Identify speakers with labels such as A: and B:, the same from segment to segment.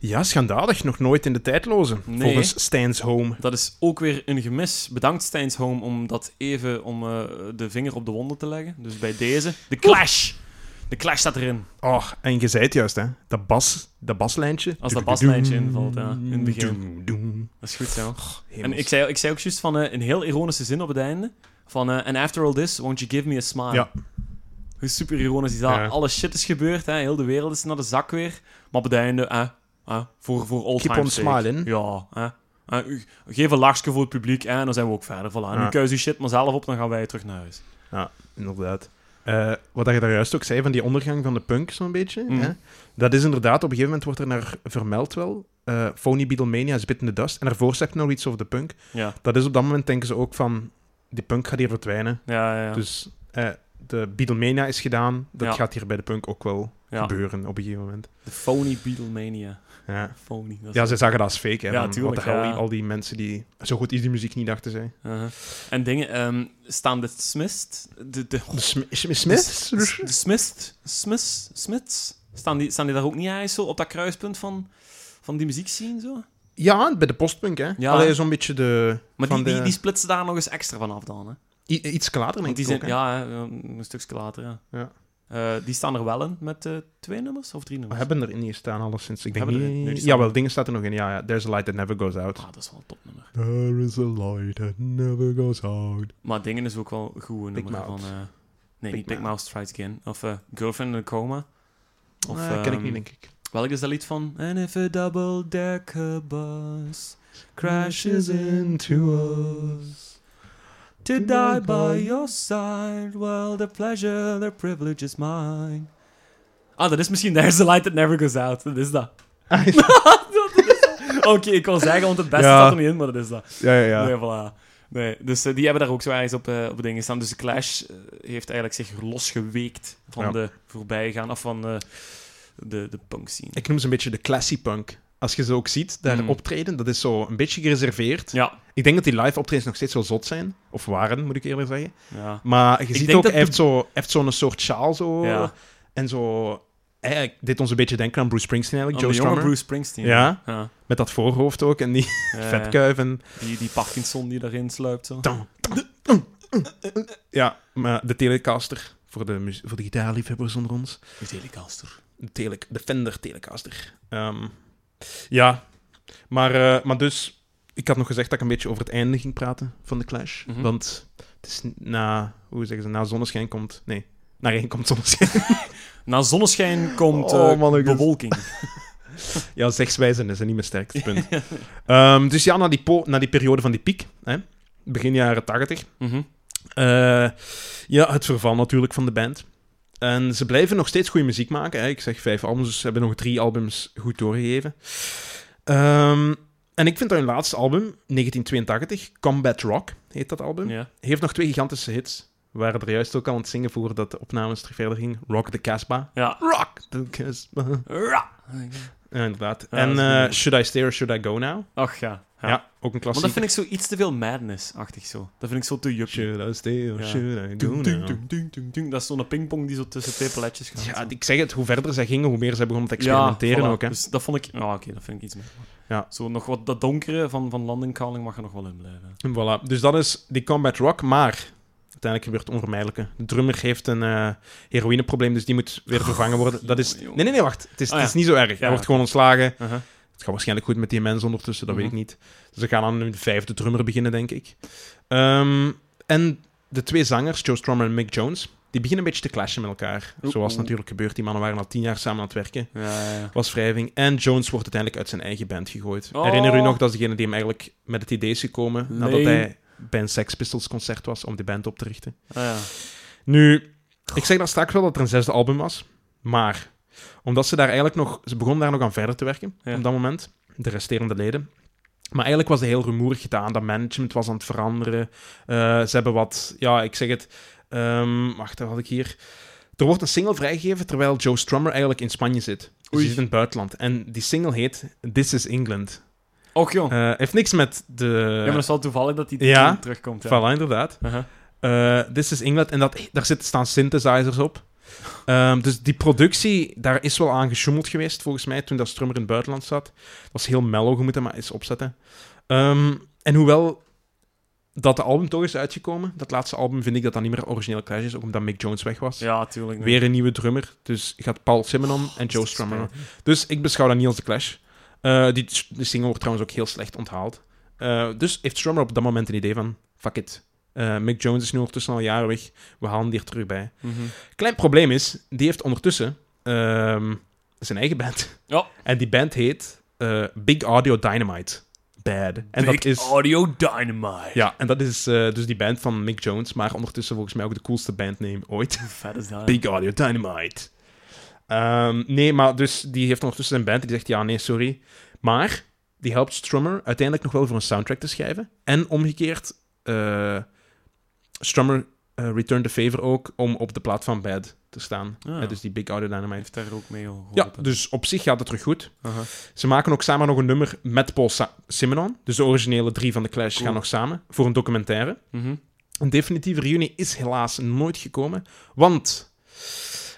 A: Ja, schandalig. Nog nooit in de tijdloze.
B: Nee.
A: Volgens Stijn's Home.
B: Dat is ook weer een gemis. Bedankt Stijns Home om dat even om eh, de vinger op de wonden te leggen. Dus bij deze, de clash. De clash staat erin.
A: Oh, en je zei het juist, hè. Dat, bas, dat baslijntje.
B: Als dat baslijntje invalt, ja, in het begin.
A: Doem, doem.
B: Dat is goed, ja. En
A: Hemels.
B: ik zei, ik zei ook juist van eh, een heel ironische zin op het einde. Van, eh, and after all this, won't you give me a smile?
A: Ja.
B: Hoe super ironisch is dat?
A: Ja.
B: Alle shit is gebeurd, hè? heel de wereld is naar de zak weer. Maar op het einde, eh, eh, voor, voor all
A: Keep
B: time
A: on
B: sake.
A: smiling.
B: Ja, hè. Eh, u- geef een lachje voor het publiek hè, en dan zijn we ook verder. Voilà. Nu
A: Ja.
B: kuis je shit maar zelf op, dan gaan wij terug naar huis.
A: Inderdaad. Eh, wat je daar juist ook zei van die ondergang van de punk, zo'n beetje.
B: Mhm.
A: Hè? Dat is inderdaad, op een gegeven moment wordt er naar vermeld wel. eh phony Beatlemania is bit in the dust. En daarvoor zegt nog iets over de punk.
B: Ja,
A: Dat is op dat moment denken ze ook van, die punk gaat hier verdwijnen.
B: ja, ja. ja.
A: Dus eh, de Beatlemania is gedaan. Dat
B: Ja.
A: gaat hier bij de punk ook wel
B: ja.
A: gebeuren op een gegeven moment.
B: De phony Beatlemania.
A: Ja,
B: Phony. Dat is-
A: ja ze zagen dat als fake. Hè,
B: Ja,
A: van,
B: tuurlijk,
A: wat de hel,
B: ja.
A: die- al die mensen die zo goed is die muziek niet dachten zijn.
B: Uh-huh. En dingen, ehm staan de Smiths, de, de,
A: De Sm- Sm- Smiths?
B: De, s- de Smiths, Smiths, Smiths, staan die, staan die daar ook niet eigenlijk zo op dat kruispunt van, van die muziek zien zo?
A: Ja, bij de postpunk, hè.
B: Ja.
A: Allee, zo'n beetje de...
B: Maar
A: van
B: die, die,
A: de-
B: die splitsen daar nog eens extra van af dan, hè?
A: I- iets klater,
B: Want
A: denk
B: die
A: ik
B: zijn,
A: ook, hè.
B: ja, hè, een stukje later, ja.
A: Ja.
B: Eh, die staan er wel in met eh, twee nummers of drie
A: We
B: nummers?
A: hebben er niet staan, alleszins. Ik denk
B: Hebben er-
A: niet...
B: nee, die staan
A: ja, wel,
B: er.
A: dingen staat er nog in. Ja, ja. There's a light that never goes out.
B: Ah, dat is wel een topnummer.
A: There is a light that never goes out.
B: Maar Dingen is ook wel een goede
A: Big
B: nummer van...
A: Mouth.
B: eh, nee,
A: Big
B: niet Big
A: Mouth.
B: Mouth Strikes Again. Of eh, Girlfriend in a Coma. Of,
A: Eh, ken ik
B: ehm,
A: niet, denk ik.
B: Welk is dat lied van? And if a double-decker bus crashes into us To die by your side Well, the pleasure, the privilege is mine Ah, dat is misschien There's the light that never goes out. Dat is dat.
A: Ah, is-
B: Dat is dat. Oké, ik wil zeggen, want het beste
A: Ja.
B: staat er niet in, maar dat is dat.
A: ja, ja, ja.
B: Nee, voilà. Nee, dus eh, die hebben daar ook zo ergens op, eh, op dingen staan. Dus de Clash eh, heeft eigenlijk zich losgeweekt van
A: Ja.
B: de voorbijgaan, of van eh, de, de punk scene.
A: Ik noem ze een beetje de classy punk. Als je ze ook ziet, daar
B: Mm.
A: optreden, dat is zo een beetje gereserveerd.
B: Ja,
A: Ik denk dat die live optredens nog steeds zo zot zijn. Of waren, moet ik eerlijk zeggen.
B: ja.
A: Maar je ziet
B: denk
A: ook,
B: dat
A: hij
B: de-
A: heeft zo- hij heeft zo'n soort sjaal zo.
B: Ja.
A: En zo... Eigenlijk deed ons een beetje denken aan Bruce Springsteen
B: Aan de
A: eigenlijk.
B: jonge
A: Joe Strummer.
B: Bruce Springsteen.
A: Ja.
B: ja.
A: Met dat voorhoofd ook en die
B: Ja, ja.
A: vetkuif en...
B: Die, die Parkinson die daarin sluipt. Zo.
A: Dun, dun, dun, dun, dun. Ja, maar de Telecaster, voor de, mu- voor de gitaarliefhebbers onder ons.
B: De Telecaster.
A: De, tele de Fender Telecaster. Ehm, ja, maar, eh, maar dus... Ik had nog gezegd dat ik een beetje over het einde ging praten van de Clash.
B: Mhm.
A: Want het is na... Hoe zeggen ze? Na zonneschijn komt... Nee, na regen komt zonneschijn.
B: Na zonneschijn komt eh,
A: Oh, mannetjes.
B: bewolking.
A: ja, zegswijzen is niet mijn sterkste punt. Ehm, dus ja, na die, po- na die periode van die piek, hè, begin jaren tachtig...
B: Mhm.
A: Eh, ja, het verval natuurlijk van de band. En ze blijven nog steeds goede muziek maken. Hè. Ik zeg vijf albums, dus ze hebben nog drie albums goed doorgegeven. Ehm, en ik vind dat hun laatste album, 1982, Combat Rock heet dat album,
B: Ja.
A: heeft nog twee gigantische hits. We waren er juist ook al aan het zingen voordat de opnames terug verder ging. Rock the Casbah.
B: ja.
A: Rock the Casbah.
B: Ra.
A: Ja, inderdaad.
B: Ja,
A: en
B: dat is een
A: eh,
B: goeie.
A: Should I Stay or Should I Go Now?
B: Ach ja.
A: Ja, ook een
B: Want dat
A: klassieker.
B: vind ik zo iets te veel madness-achtig zo. Dat vind ik zo te juppie.
A: Should I Stay or
B: Ja.
A: Should I Go
B: Dung, dung,
A: Now?
B: dung, dung, dung, dung. Dat is zo'n pingpong die zo tussen twee paletjes gaat.
A: Ja,
B: zo.
A: ik zeg het, hoe verder zij gingen, hoe meer zij begonnen te
B: Ja,
A: experimenteren
B: voilà.
A: ook. Hè.
B: Dus dat vond ik... Ja, oké, dat vind ik iets meer.
A: Ja.
B: Zo nog wat dat donkere van, van Landing Calling mag er nog wel in blijven.
A: En Voilà. Dus dat is die combat rock, maar uiteindelijk gebeurt het onvermijdelijke. De drummer heeft een eh, heroïneprobleem, dus die moet weer vervangen worden. Dat is...
B: Oh, jongen,
A: Nee,
B: jongen.
A: nee, nee, wacht. Het is,
B: Ah,
A: het
B: ja.
A: is niet zo erg.
B: Ja.
A: Hij wordt gewoon ontslagen.
B: Uh-huh.
A: Het gaat waarschijnlijk goed met die mensen ondertussen, dat
B: Mhm.
A: weet ik niet. Dus ze gaan aan hun vijfde drummer beginnen, denk ik. Ehm, en de twee zangers, Joe Strummer en Mick Jones, die beginnen een beetje te clashen met elkaar.
B: Oeh.
A: Zoals natuurlijk gebeurt. Die mannen waren al tien jaar samen aan het werken.
B: Ja, ja, ja.
A: was wrijving. En Jones wordt uiteindelijk uit zijn eigen band gegooid.
B: Oh.
A: Herinner u nog, dat is degene die hem eigenlijk met het idee is gekomen nadat
B: Lame.
A: hij bij een Sex Pistols concert was om die band op te richten.
B: Ah, ja.
A: Nu, ik zeg daar straks wel dat er een zesde album was, maar omdat ze daar eigenlijk nog, ze begonnen daar nog aan verder te werken
B: Ja.
A: op dat moment, de resterende leden. Maar eigenlijk was het heel rumoerig gedaan, dat management was aan het veranderen. Eh, ze hebben wat, ja, ik zeg het, ehm, wacht, dat had ik hier. Er wordt een single vrijgegeven terwijl Joe Strummer eigenlijk in Spanje zit. Dus
B: Oei.
A: die zit in het buitenland. En die single heet This is England.
B: Och, jong.
A: Eh, heeft niks met de...
B: ja, maar dat is wel toevallig dat die
A: ja.
B: toen terugkomt. Ja.
A: Voilà, inderdaad.
B: Uh-huh.
A: Eh, This is England. En dat, daar zitten, staan synthesizers op. Ehm, dus die productie, daar is wel aan gesjoemeld geweest, volgens mij, toen dat Strummer in het buitenland zat. Dat was heel mellow, je moet dat maar eens opzetten. Ehm, en hoewel dat de album toch is uitgekomen, dat laatste album, vind ik dat dat niet meer origineel Clash is, ook omdat Mick Jones weg was.
B: Ja, tuurlijk. nee.
A: Weer een nieuwe drummer, dus gaat Paul Simonon en Joe Strummer. Dus ik beschouw dat niet als de Clash. Eh, die, die single wordt trouwens ook heel slecht onthaald. Eh, dus heeft Strummer op dat moment een idee van, fuck it. Eh, Mick Jones is nu ondertussen al jaren weg, we halen die er terug bij.
B: Mhm.
A: Klein probleem is, die heeft ondertussen ehm, zijn eigen band.
B: Ja.
A: En die band heet eh, Big Audio Dynamite. Bad. En
B: Big
A: dat is.
B: Audio Dynamite.
A: Ja, en dat is eh, dus die band van Mick Jones, maar ondertussen volgens mij ook de coolste bandname ooit.
B: Hoe vet is dat?
A: Big Audio Dynamite. Ehm, nee, maar dus die heeft ondertussen zijn band die zegt ja, nee, sorry. Maar die helpt Strummer uiteindelijk nog wel voor een soundtrack te schrijven. En omgekeerd, eh, Strummer eh, return the favor ook om op de plaat van Bad te staan.
B: Ah.
A: Eh, dus die Big Audio Dynamite.
B: heeft daar ook mee geholpen.
A: Ja, dus op zich gaat het terug goed.
B: Aha.
A: Ze maken ook samen nog een nummer met Paul Sa- Simonon. Dus de originele drie van de Clash
B: Cool.
A: gaan nog samen voor een documentaire.
B: Mhm.
A: Een definitieve reunie is helaas nooit gekomen, want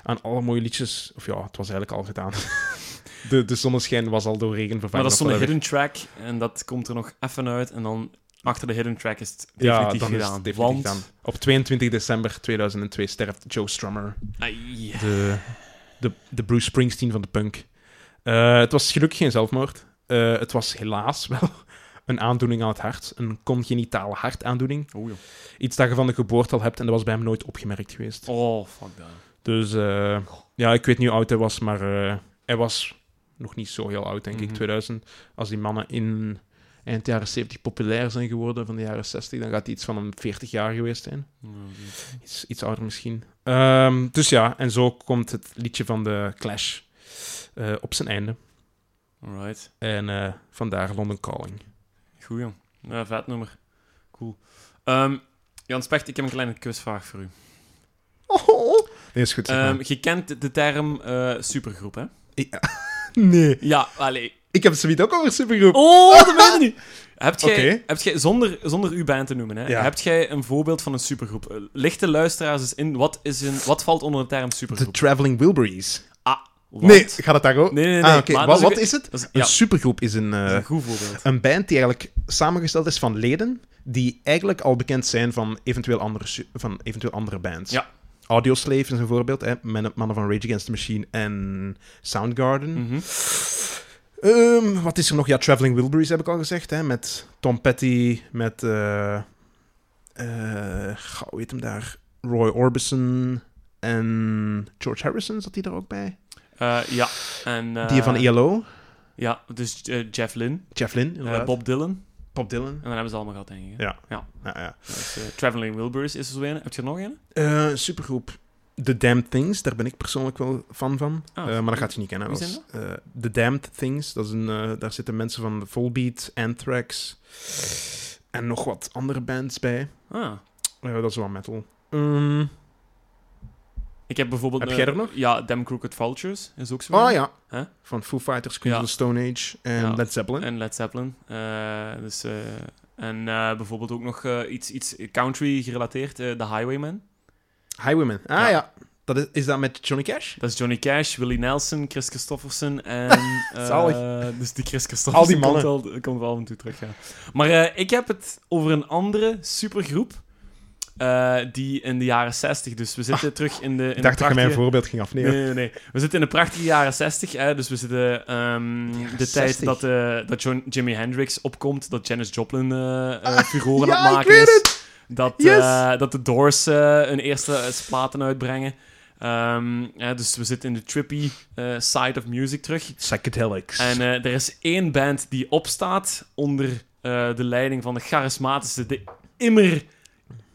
A: aan alle mooie liedjes, of ja, het was eigenlijk al gedaan. De, de zonneschijn was al door regen vervangen.
B: Maar dat is
A: of
B: zo'n
A: whatever.
B: hidden track en dat komt er nog even uit. En dan achter de hidden track is het
A: ja,
B: definitief
A: dan is
B: gedaan.
A: het definitief
B: want...
A: gedaan. Op 22 december 2002 sterft Joe Strummer.
B: Ai.
A: de, de, de Bruce Springsteen van de punk. Eh, het was gelukkig geen zelfmoord. Eh, het was helaas wel een aandoening aan het hart. Een congenitale hartaandoening.
B: Oeh, joh.
A: Iets dat je van de geboorte al hebt en dat was bij hem nooit opgemerkt geweest.
B: Oh, fuck dat.
A: Dus eh, ja, ik weet niet hoe oud hij was, maar eh, hij was nog niet zo heel oud, denk ik.
B: Mhm.
A: 2000. Als die mannen in eind jaren 70 populair zijn geworden van de jaren 60, dan gaat hij iets van een 40 jaar geweest zijn. Iets, iets ouder misschien. Ehm, dus ja, en zo komt het liedje van de Clash eh, op zijn einde.
B: Alright.
A: En eh, vandaar London Calling.
B: Goed, jong. Ja, vet nummer. Cool. Ehm Jan Specht, ik heb een kleine quizvraag voor u.
A: Oh, nee, is goed. zeg maar.
B: Ehm, je kent de term eh, supergroep, hè?
A: nee,
B: Ja, allee.
A: ik heb zoiets ook over supergroep.
B: Oh, dat weet ik niet. Hebt jij,
A: Oké.
B: hebt jij zonder, zonder uw band te noemen, hè,
A: Ja.
B: hebt jij een voorbeeld van een supergroep? Eh, Licht de luisteraars eens in, wat, is een, wat valt onder de term
A: De
B: supergroep?
A: Traveling Wilburys.
B: Want-
A: Nee, gaat het daar ook?
B: Nee, nee, nee.
A: Ah, oké.
B: maar
A: Wa-
B: dat
A: Wat,
B: is ook-
A: is het?
B: dat is-
A: Een
B: ja,
A: supergroep is een, eh,
B: dat is een goed voorbeeld.
A: een band die eigenlijk samengesteld is van leden die eigenlijk al bekend zijn van eventueel andere, su- van eventueel andere bands.
B: Ja.
A: Audioslave is een voorbeeld, hè? mannen mannen van Rage Against the Machine en Soundgarden.
B: Mhm.
A: Ehm, wat is er nog? Ja, Traveling Wilburys heb ik al gezegd, hè? Met Tom Petty, met... eh eh, goh, hoe heet hem daar? Roy Orbison en George Harrison zat hij er ook bij.
B: Eh, ja, en... eh,
A: die van ELO.
B: Ja, dus eh, Jeff Lynne,
A: Jeff Lynne,
B: eh,
A: inderdaad.
B: Bob Dylan.
A: Bob Dylan.
B: En dan hebben ze het allemaal gehad, denk ik. hè.
A: Ja.
B: Ja.
A: Nou, ja.
B: Dus, eh, Traveling Wilburys is er zo een. Heb je er nog een?
A: Eh, supergroep. The Damned Things, daar ben ik persoonlijk wel fan van.
B: Ah,
A: Eh, maar dat gaat je niet kennen.
B: Wie
A: Dat is, eh, The Damned Things, dat is een, eh, daar zitten mensen van Volbeat, Anthrax en nog wat andere bands bij.
B: Ah.
A: Eh, dat is wel metal. Ehm,
B: Ik heb bijvoorbeeld...
A: Heb
B: eh,
A: jij er nog?
B: Ja, Damn Crooked Vultures is ook zo
A: oh
B: een.
A: ja,
B: Huh?
A: van Foo Fighters, Queens
B: Ja.
A: of the Stone Age en
B: Ja.
A: Led Zeppelin.
B: En Led Zeppelin. Eh, dus, eh, en eh, bijvoorbeeld ook nog eh, iets, iets country gerelateerd. eh The Highwayman.
A: Highwaymen. Ah
B: Ja.
A: ja, Dat is, is dat met Johnny Cash?
B: Dat is Johnny Cash, Willie Nelson, Chris Christofferson en... eh,
A: Zalig.
B: dus die Chris
A: Al
B: Christofferson
A: die mannen.
B: komt, wel, komt wel af en toe terug, ja. Maar eh, ik heb het over een andere supergroep. eh, die in de jaren 60, dus we zitten terug in de. In
A: Ah. Ik dacht dat
B: de
A: je mij een
B: prachtige-
A: voorbeeld ging afnemen.
B: Nee, nee, nee. We zitten in de prachtige jaren 60, hè, dus we zitten ehm,
A: De jaren
B: de
A: 60.
B: tijd dat, eh, dat John, Jimi Hendrix opkomt, dat Janis Joplin eh eh, furoren
A: Ah, ja,
B: aan het
A: ik
B: maken
A: weet
B: is. Dat, eh,
A: Yes.
B: dat de Doors eh, hun eerste eh, platen uitbrengen. Ehm, hè, dus we zitten in de trippy eh, side of music terug.
A: Psychedelics.
B: En eh, er is één band die opstaat onder eh, de leiding van de charismatische, de immer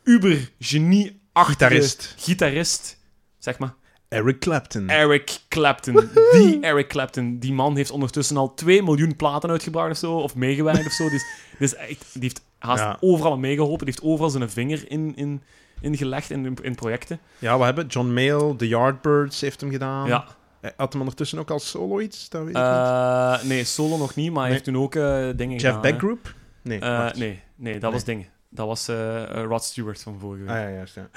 B: uber genie
A: Gitarist.
B: gitarist, zeg maar.
A: Eric Clapton.
B: Eric Clapton. Die Eric Clapton. Die man heeft ondertussen al 2 miljoen platen uitgebracht of zo. Of meegewerkt of zo. Dus, dus echt, die heeft haast
A: Ja.
B: overal aan meegeholpen. Die heeft overal zijn vinger in, in, in gelegd in, in projecten.
A: ja, we hebben John Mayall, The Yardbirds heeft hem gedaan.
B: Ja.
A: Eh, Had hem ondertussen ook al solo iets? Dat weet ik niet.
B: Eh, nee, solo nog niet, maar hij
A: Nee.
B: heeft toen ook eh, dingen
A: Jeff
B: gedaan.
A: Beck Group? Nee,
B: hè. Eh,
A: wacht.
B: nee, nee, dat
A: Nee.
B: was dingen. Dat was eh, eh, Rod Stewart van vorige week.
A: Ah ja, juist, ja.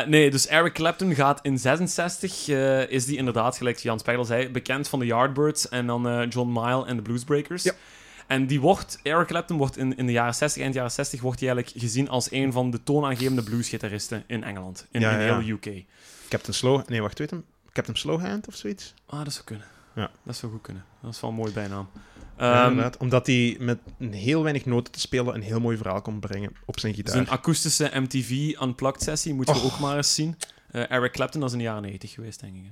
B: Eh, nee, dus Eric Clapton gaat in 66, eh, is die inderdaad, gelijk Jan Spijl zei, bekend van de Yardbirds en dan eh, John Mile en de Bluesbreakers.
A: Ja.
B: En die wordt, Eric Clapton wordt in, in de jaren 60, eind jaren 60, wordt hij eigenlijk gezien als een van de toonaangevende bluesgitaristen in Engeland, in,
A: Ja,
B: in
A: ja, ja.
B: heel UK.
A: Captain Slow... Nee, wacht, weet hem. Captain Slowhand of zoiets?
B: Ah, dat zou kunnen.
A: Ja.
B: Dat zou goed kunnen. Dat is wel een mooie bijnaam.
A: Ja,
B: Ehm,
A: inderdaad. Omdat hij met een heel weinig noten te spelen een heel mooi verhaal kon brengen op zijn gitaar.
B: zijn akoestische MTV Unplugged sessie moeten we
A: Och.
B: ook maar eens zien. Eh, Eric Clapton, dat is in de jaren 90 geweest, denk ik. hè.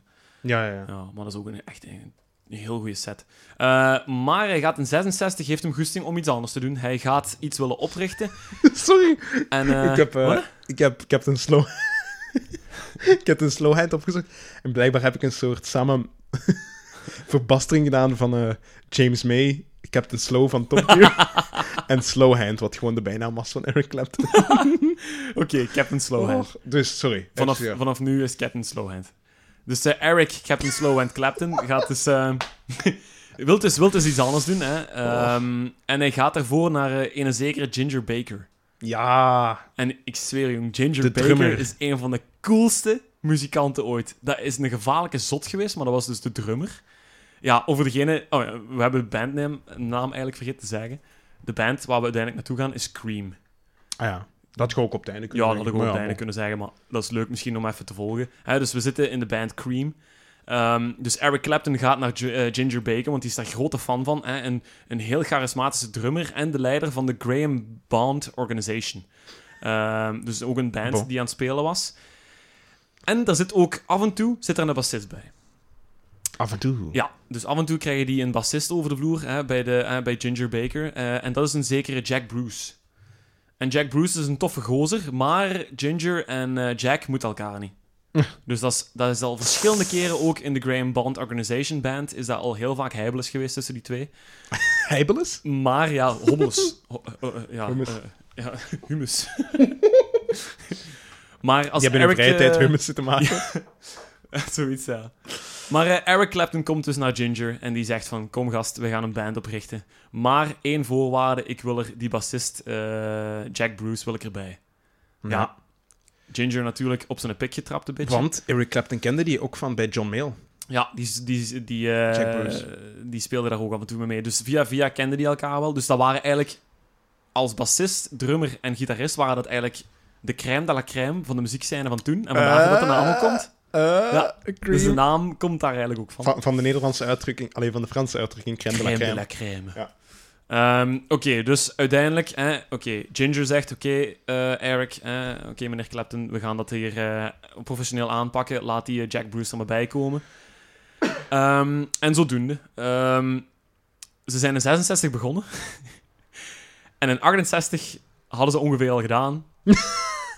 A: Ja, ja, ja.
B: Ja, maar dat is ook een, echt een, een heel goede set. Eh, maar hij gaat in 66, heeft hem goesting om iets anders te doen. Hij gaat iets willen oprichten.
A: Sorry.
B: En, eh,
A: ik, heb, eh,
B: wat?
A: ik heb Captain Slow... ik heb een Slowhand opgezocht. En blijkbaar heb ik een soort samen... verbastering gedaan van eh, James May, Captain Slow van Top Gear. en Slowhand, wat gewoon de bijnaam was van Eric Clapton.
B: Oké, Captain Slowhand.
A: Och, dus, sorry.
B: Oh. vanaf,
A: Even, ja.
B: vanaf nu is Captain Slowhand. Dus eh, Eric, Captain Slowhand Clapton, gaat dus... eh wil dus, wil dus iets anders doen, hè. Ehm, En hij gaat daarvoor naar eh, een zekere Ginger Baker.
A: Ja.
B: En ik zweer, jong, Ginger
A: De
B: Baker
A: drummer.
B: is een van de coolste muzikanten ooit. Dat is een gevaarlijke zot geweest, maar dat was dus de drummer. Ja, over degene... Oh ja, we hebben de bandnaam naam eigenlijk vergeten te zeggen. De band waar we uiteindelijk naartoe gaan is Cream.
A: Ah ja. Dat ga ik op het einde
B: Ja,
A: kunnen
B: dat had ik ook op het einde
A: einde
B: kunnen zeggen, maar dat is leuk misschien om even te volgen. Hè, dus we zitten in de band Cream. Ehm, dus Eric Clapton gaat naar Gi- eh, Ginger Baker, want die is daar grote fan van. Hè? Een, een heel charismatische drummer en de leider van de Graham Bond Organization. Ehm, dus ook een band
A: Bon.
B: die aan het spelen was. En daar zit ook af en toe zit er een bassist bij.
A: Af en toe.
B: Ja, dus af en toe krijgen die een bassist over de vloer hè, bij, de, hè, bij Ginger Baker. eh, en dat is een zekere Jack Bruce. En Jack Bruce is een toffe gozer, maar Ginger en eh, Jack moeten elkaar niet. Dus dat is, dat is al verschillende keren ook in de Graham Bond Organization Band. Is dat al heel vaak heibeles geweest tussen die twee.
A: Heibelis?
B: Maar ja, hobbels. Ho- eh, eh, ja,
A: Hummus.
B: eh, ja, humus. maar als
A: Die hebben in
B: Eric,
A: vrije tijd
B: eh,
A: hummus zitten maken.
B: Zoiets, ja. Maar eh, Eric Clapton komt dus naar Ginger en die zegt van... Kom gast, we gaan een band oprichten. Maar één voorwaarde, ik wil er die bassist eh, Jack Bruce wil ik erbij. Ja. Ginger natuurlijk op zijn pik getrapt een beetje.
A: Want Eric Clapton kende die ook van bij John Mayle.
B: Ja, die, die, die, eh,
A: Jack Bruce.
B: die speelde daar ook af en toe mee. Dus via via kenden die elkaar wel. Dus dat waren eigenlijk... Als bassist, drummer en gitarist waren dat eigenlijk... De crème de la crème van de muziekscène van toen. En vandaar dat de
A: Eh,
B: naam komt. Ja, Dus de naam komt daar eigenlijk ook van.
A: van, van de Nederlandse uitdrukking, alleen van de Franse uitdrukking, crème de la
B: Crème de
A: crème.
B: la crème.
A: Ja.
B: Ehm, oké, dus uiteindelijk... hè, oké, Ginger zegt, oké, eh, Eric, eh, oké, meneer Clapton, we gaan dat hier eh, professioneel aanpakken. Laat die eh, Jack Bruce er maar bij komen. Ehm, en zodoende. Ehm, ze zijn in 66 begonnen. en in 68 hadden ze ongeveer al gedaan.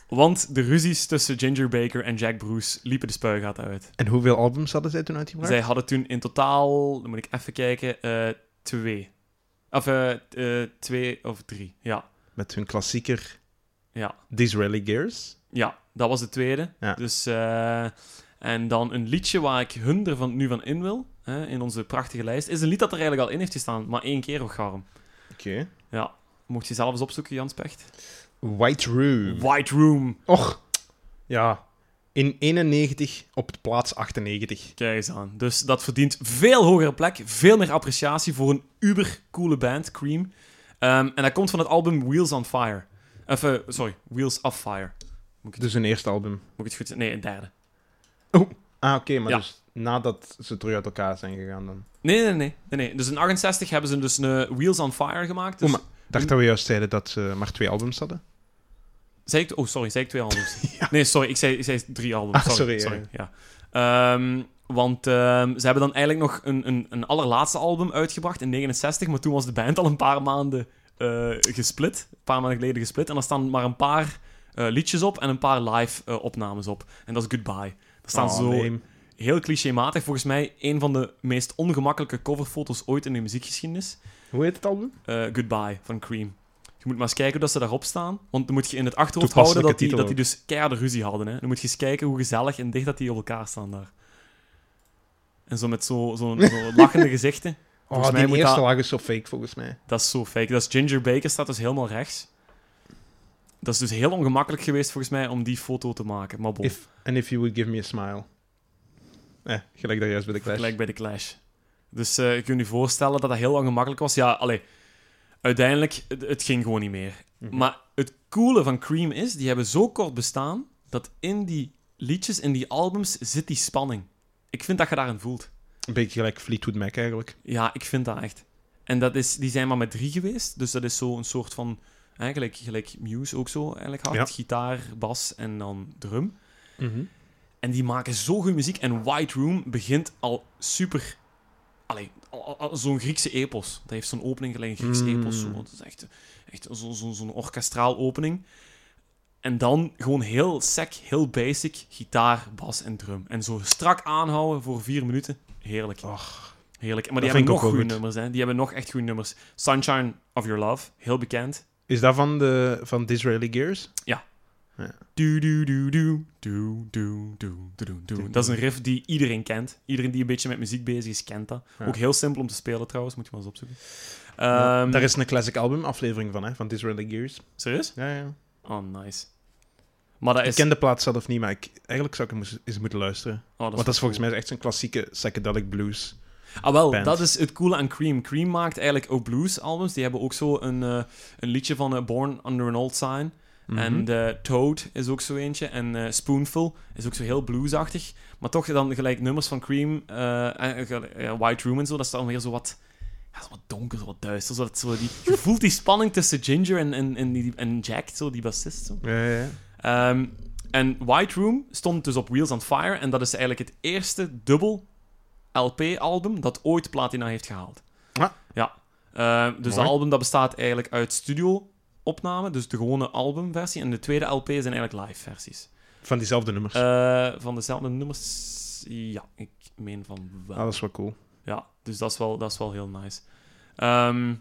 B: Want de ruzies tussen Ginger Baker en Jack Bruce liepen de spuigaten uit.
A: En hoeveel albums hadden zij toen uitgebracht?
B: Zij hadden toen in totaal, dan moet ik even kijken, eh, twee. Of eh, t- eh, twee of drie, ja.
A: Met hun klassieker
B: Ja.
A: Disraeli Gears.
B: Ja, dat was de tweede.
A: Ja.
B: Dus, eh, en dan een liedje waar ik hun er van, nu van in wil, hè, in onze prachtige lijst, is een lied dat er eigenlijk al in heeft gestaan, maar één keer of garm.
A: Oké.
B: Mocht je zelf eens opzoeken, Jans Pecht.
A: White Room.
B: White Room.
A: Och. Ja. In 91 op plaats 98.
B: Kijk eens aan. Dus dat verdient veel hogere plek, veel meer appreciatie voor een ubercoole band, Cream. Ehm, en dat komt van het album Wheels on Fire. Of, eh, sorry, Wheels of Fire.
A: Dus hun eerste album.
B: Moet ik het goed zeggen? Nee, een derde.
A: Ah, oké, maar
B: Ja.
A: dus nadat ze terug uit elkaar zijn gegaan dan.
B: Nee, nee, nee, nee, nee. Dus in 68 hebben ze dus een Wheels on Fire gemaakt. Dus...
A: Oh, maar- Ik dacht dat we juist zeiden dat ze maar twee albums hadden.
B: Zei ik... Oh, sorry. Zei ik twee albums? Nee, sorry. Ik zei, ik zei drie albums.
A: Ah,
B: sorry.
A: sorry,
B: sorry, ja. Ehm, want ehm, ze hebben dan eigenlijk nog een, een, een allerlaatste album uitgebracht in 69. Maar toen was de band al een paar maanden eh, gesplit. Een paar maanden geleden gesplit. En daar staan maar een paar eh, liedjes op en een paar live eh, opnames op. En dat is Goodbye. Daar staan
A: Oh,
B: zo
A: lame.
B: heel clichématig. Volgens mij een van de meest ongemakkelijke coverfoto's ooit in de muziekgeschiedenis.
A: Hoe heet het album?
B: Eh, Goodbye van Cream. Je moet maar eens kijken hoe dat ze daarop staan. Want dan moet je in het achterhoofd
A: Toepasselijke
B: houden dat
A: titel
B: die, dat die dus keiharde ruzie hadden. Hè. Dan moet je eens kijken hoe gezellig en dicht dat die op elkaar staan daar. En zo met zo'n zo, zo lachende gezichten. Volgens
A: Oh,
B: mij
A: die
B: moet
A: eerste
B: dat-
A: lag is zo fake volgens mij.
B: Dat is zo fake. Dat is Ginger Baker staat dus helemaal rechts. Dat is dus heel ongemakkelijk geweest volgens mij om die foto te maken. Maar bon,
A: If, and if you would give me a smile. Eh, gelijk daar juist bij de Clash.
B: gelijk bij de Clash. Dus eh ik kan je voorstellen dat dat heel ongemakkelijk was. Ja, allee, uiteindelijk, het, het ging gewoon niet meer.
A: Mhm.
B: Maar het coole van Cream is, die hebben zo kort bestaan, dat in die liedjes, in die albums, zit die spanning. Ik vind dat je daarin voelt.
A: Een beetje gelijk Fleetwood Mac eigenlijk.
B: Ja, ik vind dat echt. En dat is, die zijn maar met drie geweest, dus dat is zo een soort van... Eigenlijk gelijk Muse ook zo, eigenlijk hard.
A: Ja.
B: Gitaar, bas en dan drum.
A: Mhm.
B: En die maken zo goede muziek. En White Room begint al super. Allee, al- al- al zo'n Griekse epos. Dat heeft zo'n opening gelijk een Griekse
A: Mm.
B: epos. Zo. Dat is echt, echt zo- zo- zo'n orkestraal opening. En dan gewoon heel sec, heel basic, gitaar, bas en drum. En zo strak aanhouden voor vier minuten. Heerlijk. Heerlijk. Maar die
A: dat vind ik
B: hebben
A: ook
B: nog
A: wel
B: goede
A: goed.
B: nummers. Hè. Die hebben nog echt goede nummers. Sunshine of Your Love, heel bekend.
A: Is dat van, de, van Disraeli Gears?
B: Du, du, du, du, du, du, du, du, du, du. Dat is een riff die iedereen kent. Iedereen die een beetje met muziek bezig is, kent dat.
A: Ja.
B: Ook heel simpel om te spelen trouwens, moet je maar eens opzoeken.
A: Ja,
B: Ehm,
A: daar is een classic album aflevering van, hè? Van Disraeli Gears.
B: Serieus?
A: Ja, ja.
B: Oh, nice. Maar dat
A: Ik
B: is...
A: ken de plaat zelf niet, maar ik, eigenlijk zou ik hem eens- eens moeten luisteren.
B: oh, dat
A: Want dat is volgens mij echt zo'n klassieke psychedelic blues.
B: Ah, wel,
A: band.
B: dat is het coole aan Cream. Cream maakt eigenlijk ook blues-albums. Die hebben ook zo een, eh, een liedje van eh, Born Under an Old Sign. En
A: Mhm.
B: eh, Toad is ook zo eentje. En eh, Spoonful is ook zo heel bluesachtig. Maar toch dan gelijk nummers van Cream, eh, en, eh, gelijk, eh, White Room en zo. Dat is dan weer zo wat, ja, zo wat donker, zo wat duister. Zo dat, zo die, je voelt die spanning tussen Ginger en, en, en, die, en Jack, zo, die bassist. Zo.
A: Ja, ja, ja.
B: Ehm, en White Room stond dus op Wheels on Fire. En dat is eigenlijk het eerste dubbel LP-album dat ooit Platina heeft gehaald.
A: Ah.
B: Ja. Ehm,
A: Mooi.
B: dus dat album dat bestaat eigenlijk uit studio-opname, dus de gewone albumversie. En de tweede LP zijn eigenlijk live-versies.
A: Van diezelfde nummers.
B: Eh, van dezelfde nummers... Ja, ik meen van wel.
A: Ah, dat is wel cool.
B: Ja, dus dat is wel, dat is wel heel nice. Ehm,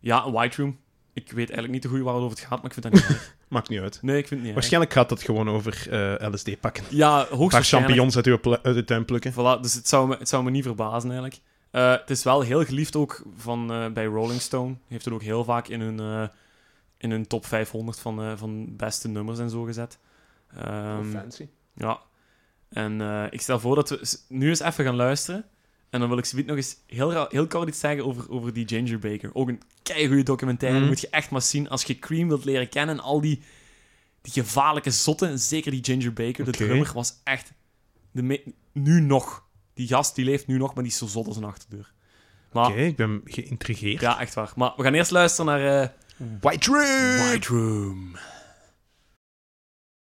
B: ja, White Room. Ik weet eigenlijk niet te goed waarover het gaat, maar ik vind dat niet erg.
A: Maakt niet uit.
B: Nee, ik vind het niet erg.
A: Waarschijnlijk gaat dat gewoon over eh, LSD pakken. Een
B: Ja,
A: paar
B: hoogstwaarschijnlijk.
A: champignons uit uw pla- uit uw tuin plukken.
B: Voilà, dus het zou, me, het zou me niet verbazen eigenlijk. Eh, het is wel heel geliefd ook van, eh, bij Rolling Stone. Heeft het ook heel vaak in hun, eh, in hun top 500 van, eh, van beste nummers en zo gezet. Ehm,
A: Fancy.
B: ja. En eh, ik stel voor dat we s- nu eens even gaan luisteren. En dan wil ik zoiets nog eens heel, ra- heel kort iets zeggen over, over die Ginger Baker. Ook een keigoede documentaire,
A: Mhm.
B: moet je echt maar zien. Als je Cream wilt leren kennen, en al die, die gevaarlijke zotten, zeker die Ginger Baker, de
A: Oké.
B: drummer, was echt... De me- nu nog. Die gast, die leeft nu nog, maar die is zo zot als een achterdeur. Maar,
A: Oké, ik ben geïntrigeerd.
B: ja, echt waar. Maar we gaan eerst luisteren naar eh,
A: White Room!
B: White Room.